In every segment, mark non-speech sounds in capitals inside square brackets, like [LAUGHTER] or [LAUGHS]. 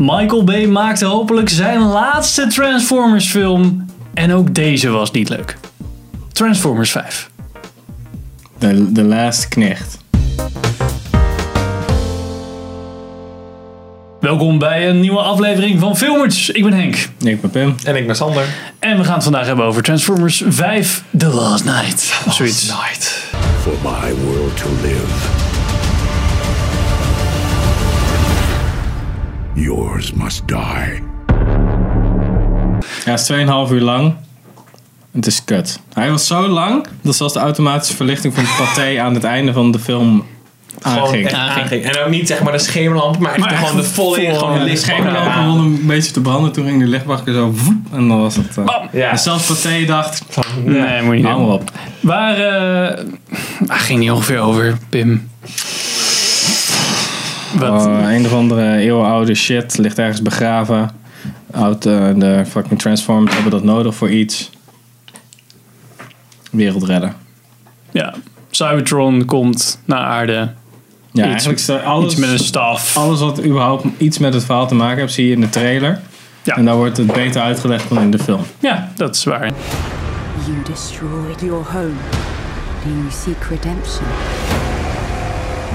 Michael Bay maakte hopelijk zijn laatste Transformers film. En ook deze was niet leuk. Transformers 5. De, de laatste knecht. Welkom bij een nieuwe aflevering van Filmers. Ik ben Henk. Ik ben Pim. En ik ben Sander. En we gaan het vandaag hebben over Transformers 5 The Last Night. Of zoiets. Night. for my world to live. Yours must die. Ja, het is 2,5 uur lang. Het is kut. Hij was zo lang, dat zelfs de automatische verlichting van Pathé aan het einde van de film Gewoon aanging. echt aanging. En ook niet zeg maar de schemerlamp, maar, echt gewoon de volle in, gewoon de Ja, de lichtbak schemerlamp eraan. begon een beetje te branden. Toen ging de lichtbakker zo... voep, En dan was het... eh. Ja. En zelfs Pathé dacht... Nee, moet je niet Hou doen. maar op. Waar eh, waar ging die ongeveer over, Pim? Wat? Oh, een of andere eeuwenoude shit ligt ergens begraven. Oud, eh, de fucking Transformers hebben dat nodig voor iets. Wereld redden. Ja. Cybertron komt naar aarde. Ja, Iets- eigenlijk is er alles, Iets met een staf. alles wat überhaupt iets met het verhaal te maken heeft, zie je in de trailer. Ja. En daar wordt het beter uitgelegd dan in de film. Ja, dat is waar. You destroyed your home. Do you seek redemption?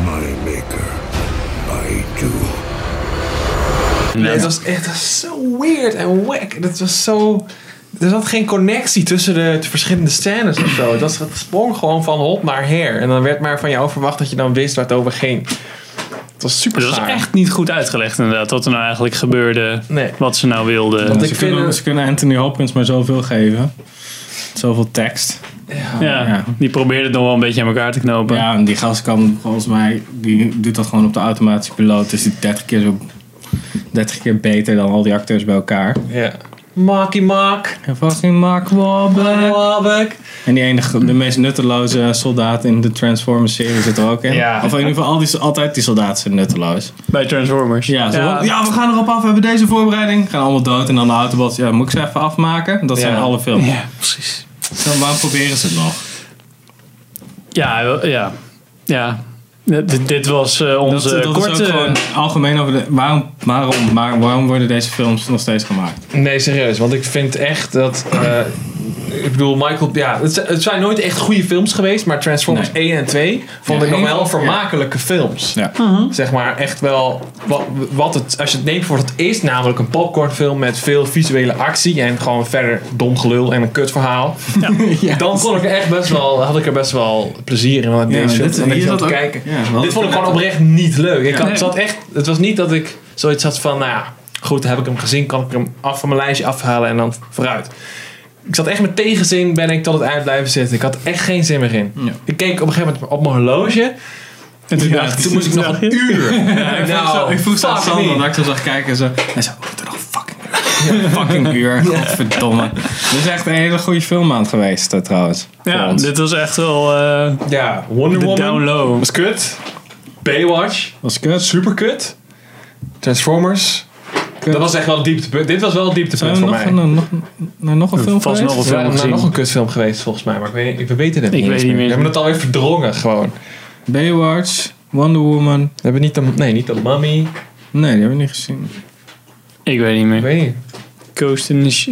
My maker, I do. Nee, het was echt dat was zo weird en wack. Dat was zo... Er zat geen connectie tussen de, de verschillende scènes of zo. Het, was, het sprong gewoon van hot naar her. En dan werd maar van jou verwacht dat je dan wist waar het over ging. Het was super Dus dat was saai. echt niet goed uitgelegd inderdaad. Wat er nou eigenlijk gebeurde. Nee. Wat ze nou wilden. Want Dus ze, ik vind kunnen, het- ze kunnen Anthony Hopkins maar zoveel geven. Zoveel tekst. Ja, ja. Die probeerde het nog wel een beetje aan elkaar te knopen. Ja, en die gast kan volgens mij, die doet dat gewoon op de automatische piloot. Dus die 30 keer, zo, 30 keer beter dan al die acteurs bij elkaar. Ja. Marky Mark. En fucking Mark Wahlberg. Wahlberg. En die enige, de meest nutteloze soldaat in de Transformers serie zit er ook in. Ja. Of in ieder geval, al die, altijd die soldaten zijn nutteloos. Bij Transformers. Ja, zo, ja. we gaan erop af. We hebben deze voorbereiding. Gaan allemaal dood. En dan de autobots. Ja, moet ik ze even afmaken? Dat zijn Ja. alle films. Ja, precies. Dan waarom proberen ze het nog? Ja, wel- ja. Ja. Dit, dit was eh, Dat, onze dat korte... is ook gewoon algemeen over de... Waarom, waarom, waar- waarom worden deze films nog steeds gemaakt? Nee, serieus. Want ik vind echt dat. eh, ik bedoel, Michael. Ja, het, zi- het zijn nooit echt goede films geweest. Maar Transformers Nee. 1 en 2 vond Ja, ik nog één wel vond- vermakelijke films. Ja. Zeg maar echt wel. Wat, wat het, als je het neemt voor wat het is, namelijk een popcornfilm met veel visuele actie. En gewoon verder dom gelul en een kutverhaal. Dan kon ik er echt best wel, had ik er best wel plezier in. Want Ja, deze dit- film, want hier ik zat zat te ook- kijken. ja, we hadden dit vond ik het gewoon oprecht niet leuk. Ik had, Nee. zat echt, het was niet dat ik zoiets had van, nou ja, goed, dan heb ik hem gezien, kan ik hem af van mijn lijstje afhalen en dan vooruit. Ik zat echt met tegenzin, ben ik tot het eind blijven zitten. Ik had echt geen zin meer in. Ja. Ik keek op een gegeven moment op mijn horloge. En toen, Ja, dacht, ik, toen moest ik nog dacht een uur. ik vroeg zo- ik vroeg zo aan fuck Sander, me. omdat Nou, ik zo zag kijken. en Zo, hij zei, oh, het is nog fucking uur. fucking uur, godverdomme. Dit is echt een hele goede filmmaand geweest eh, trouwens. voor Ja, ons. dit was echt wel... eh, Ja, Wonder De Woman. down low. Was kut. Baywatch. was kut. Super kut. Transformers. Kut. Dat was echt wel het dieptepunt. Dit was wel het Zijn dieptepunt we voor eh, nog, mij. een- nog, naar nog een film Vast geweest? nog een We film hebben nou gezien. nog een kutfilm geweest volgens mij, maar ik weet, ik, we weten het Ik niet. weet eens niet meer. We hebben het alweer verdrongen gewoon. Baywatch, Wonder Woman. We hebben niet de, nee, niet de mummy. Nee, die hebben we niet gezien. Ik weet niet Ik meer. weet niet. Coast in the... Sh-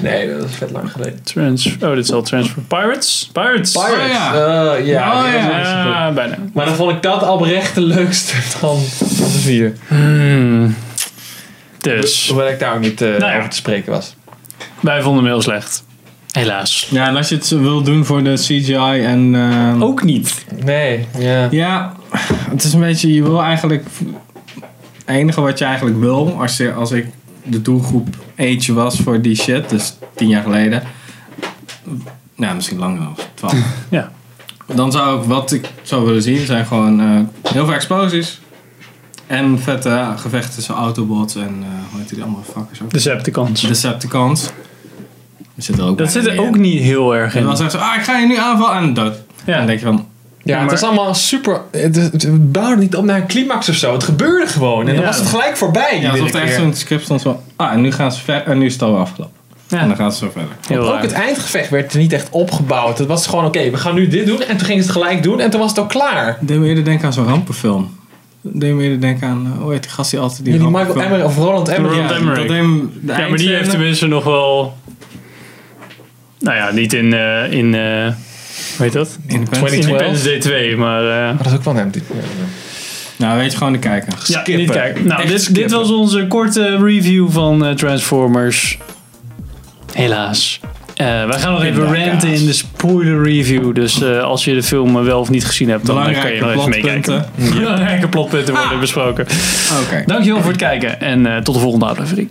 Nee, dat is vet lang geleden. Trans oh, dit is al Transfer... Pirates? Pirates! Pirates. Oh ja. Eh, ja. Oh die ja. was niet zo goed. Ja, bijna. Maar dan vond ik dat oprecht de leukste van, van de vier. Hmm. Dus, Hoewel ik daar ook niet eh, Nou ja. over te spreken was. wij vonden hem heel slecht. Helaas. Ja, en als je het wil doen voor de CGI en... ehm, Ook niet. Nee, ja. Ja, het is een beetje, je wil eigenlijk. Het enige wat je eigenlijk wil, als, je, als ik de doelgroep age was voor die shit, dus tien jaar geleden. Nou, misschien langer dan twaalf. [LAUGHS] Ja. Dan zou ik, wat ik zou willen zien, zijn gewoon eh, heel veel explosies. En vette gevechten tussen Autobots en, eh, hoe heet die andere fuckers Dus ook? Decepticons. Decepticons. Dat zit er ook Dat bijna zit er niet ook in. niet heel erg En in. dan zeggen ze, ah, ik ga je nu aanvallen en dood. Ja. En dan denk je van, Ja, Ja, het maar- was allemaal super. Het, het, het bouwde niet op naar een climax of zo. Het gebeurde gewoon. En Ja. dan was het gelijk voorbij. Ja, alsof iedere er echt keer. zo'n script stond van, ah, en nu gaan ze ver en nu is het alweer afgelopen. En dan Ja, gaan ze zo verder. heel Ook raar. het eindgevecht werd niet echt opgebouwd. Het was gewoon, oké, we gaan nu dit doen. En toen gingen ze het gelijk doen. En toen was het al klaar. Ik deed me eerder denken aan zo'n rampenfilm. deed me eerder denken aan, eh, hoe heet die gast die altijd die Ja, die ramp- Michael Emmer of Roland Oh, Emmer. Roland Ja, Emmerich. dat deed me de Ja, maar die heeft eindscène- tenminste nog wel. Nou ja, niet in. eh in eh hoe heet dat? in de In 20. pens. Independence Day 2, maar. eh, Maar dat is ook wel hem. die- Nou, weet je, gewoon de kijker. ja, skippen. niet kijken. Nou, Echt dit, dit skippen. was onze korte review van eh, Transformers. Helaas. Eh, wij gaan nog even Pindakaas. ranten in de spoiler review. Dus eh, als je de film eh, wel of niet gezien hebt, dan eh, kan je nog Belangrijke even meekijken. [LAUGHS] plotpunten. Belangrijke plotpunten worden besproken. Oké. Dankjewel voor het kijken en eh, tot de volgende aflevering.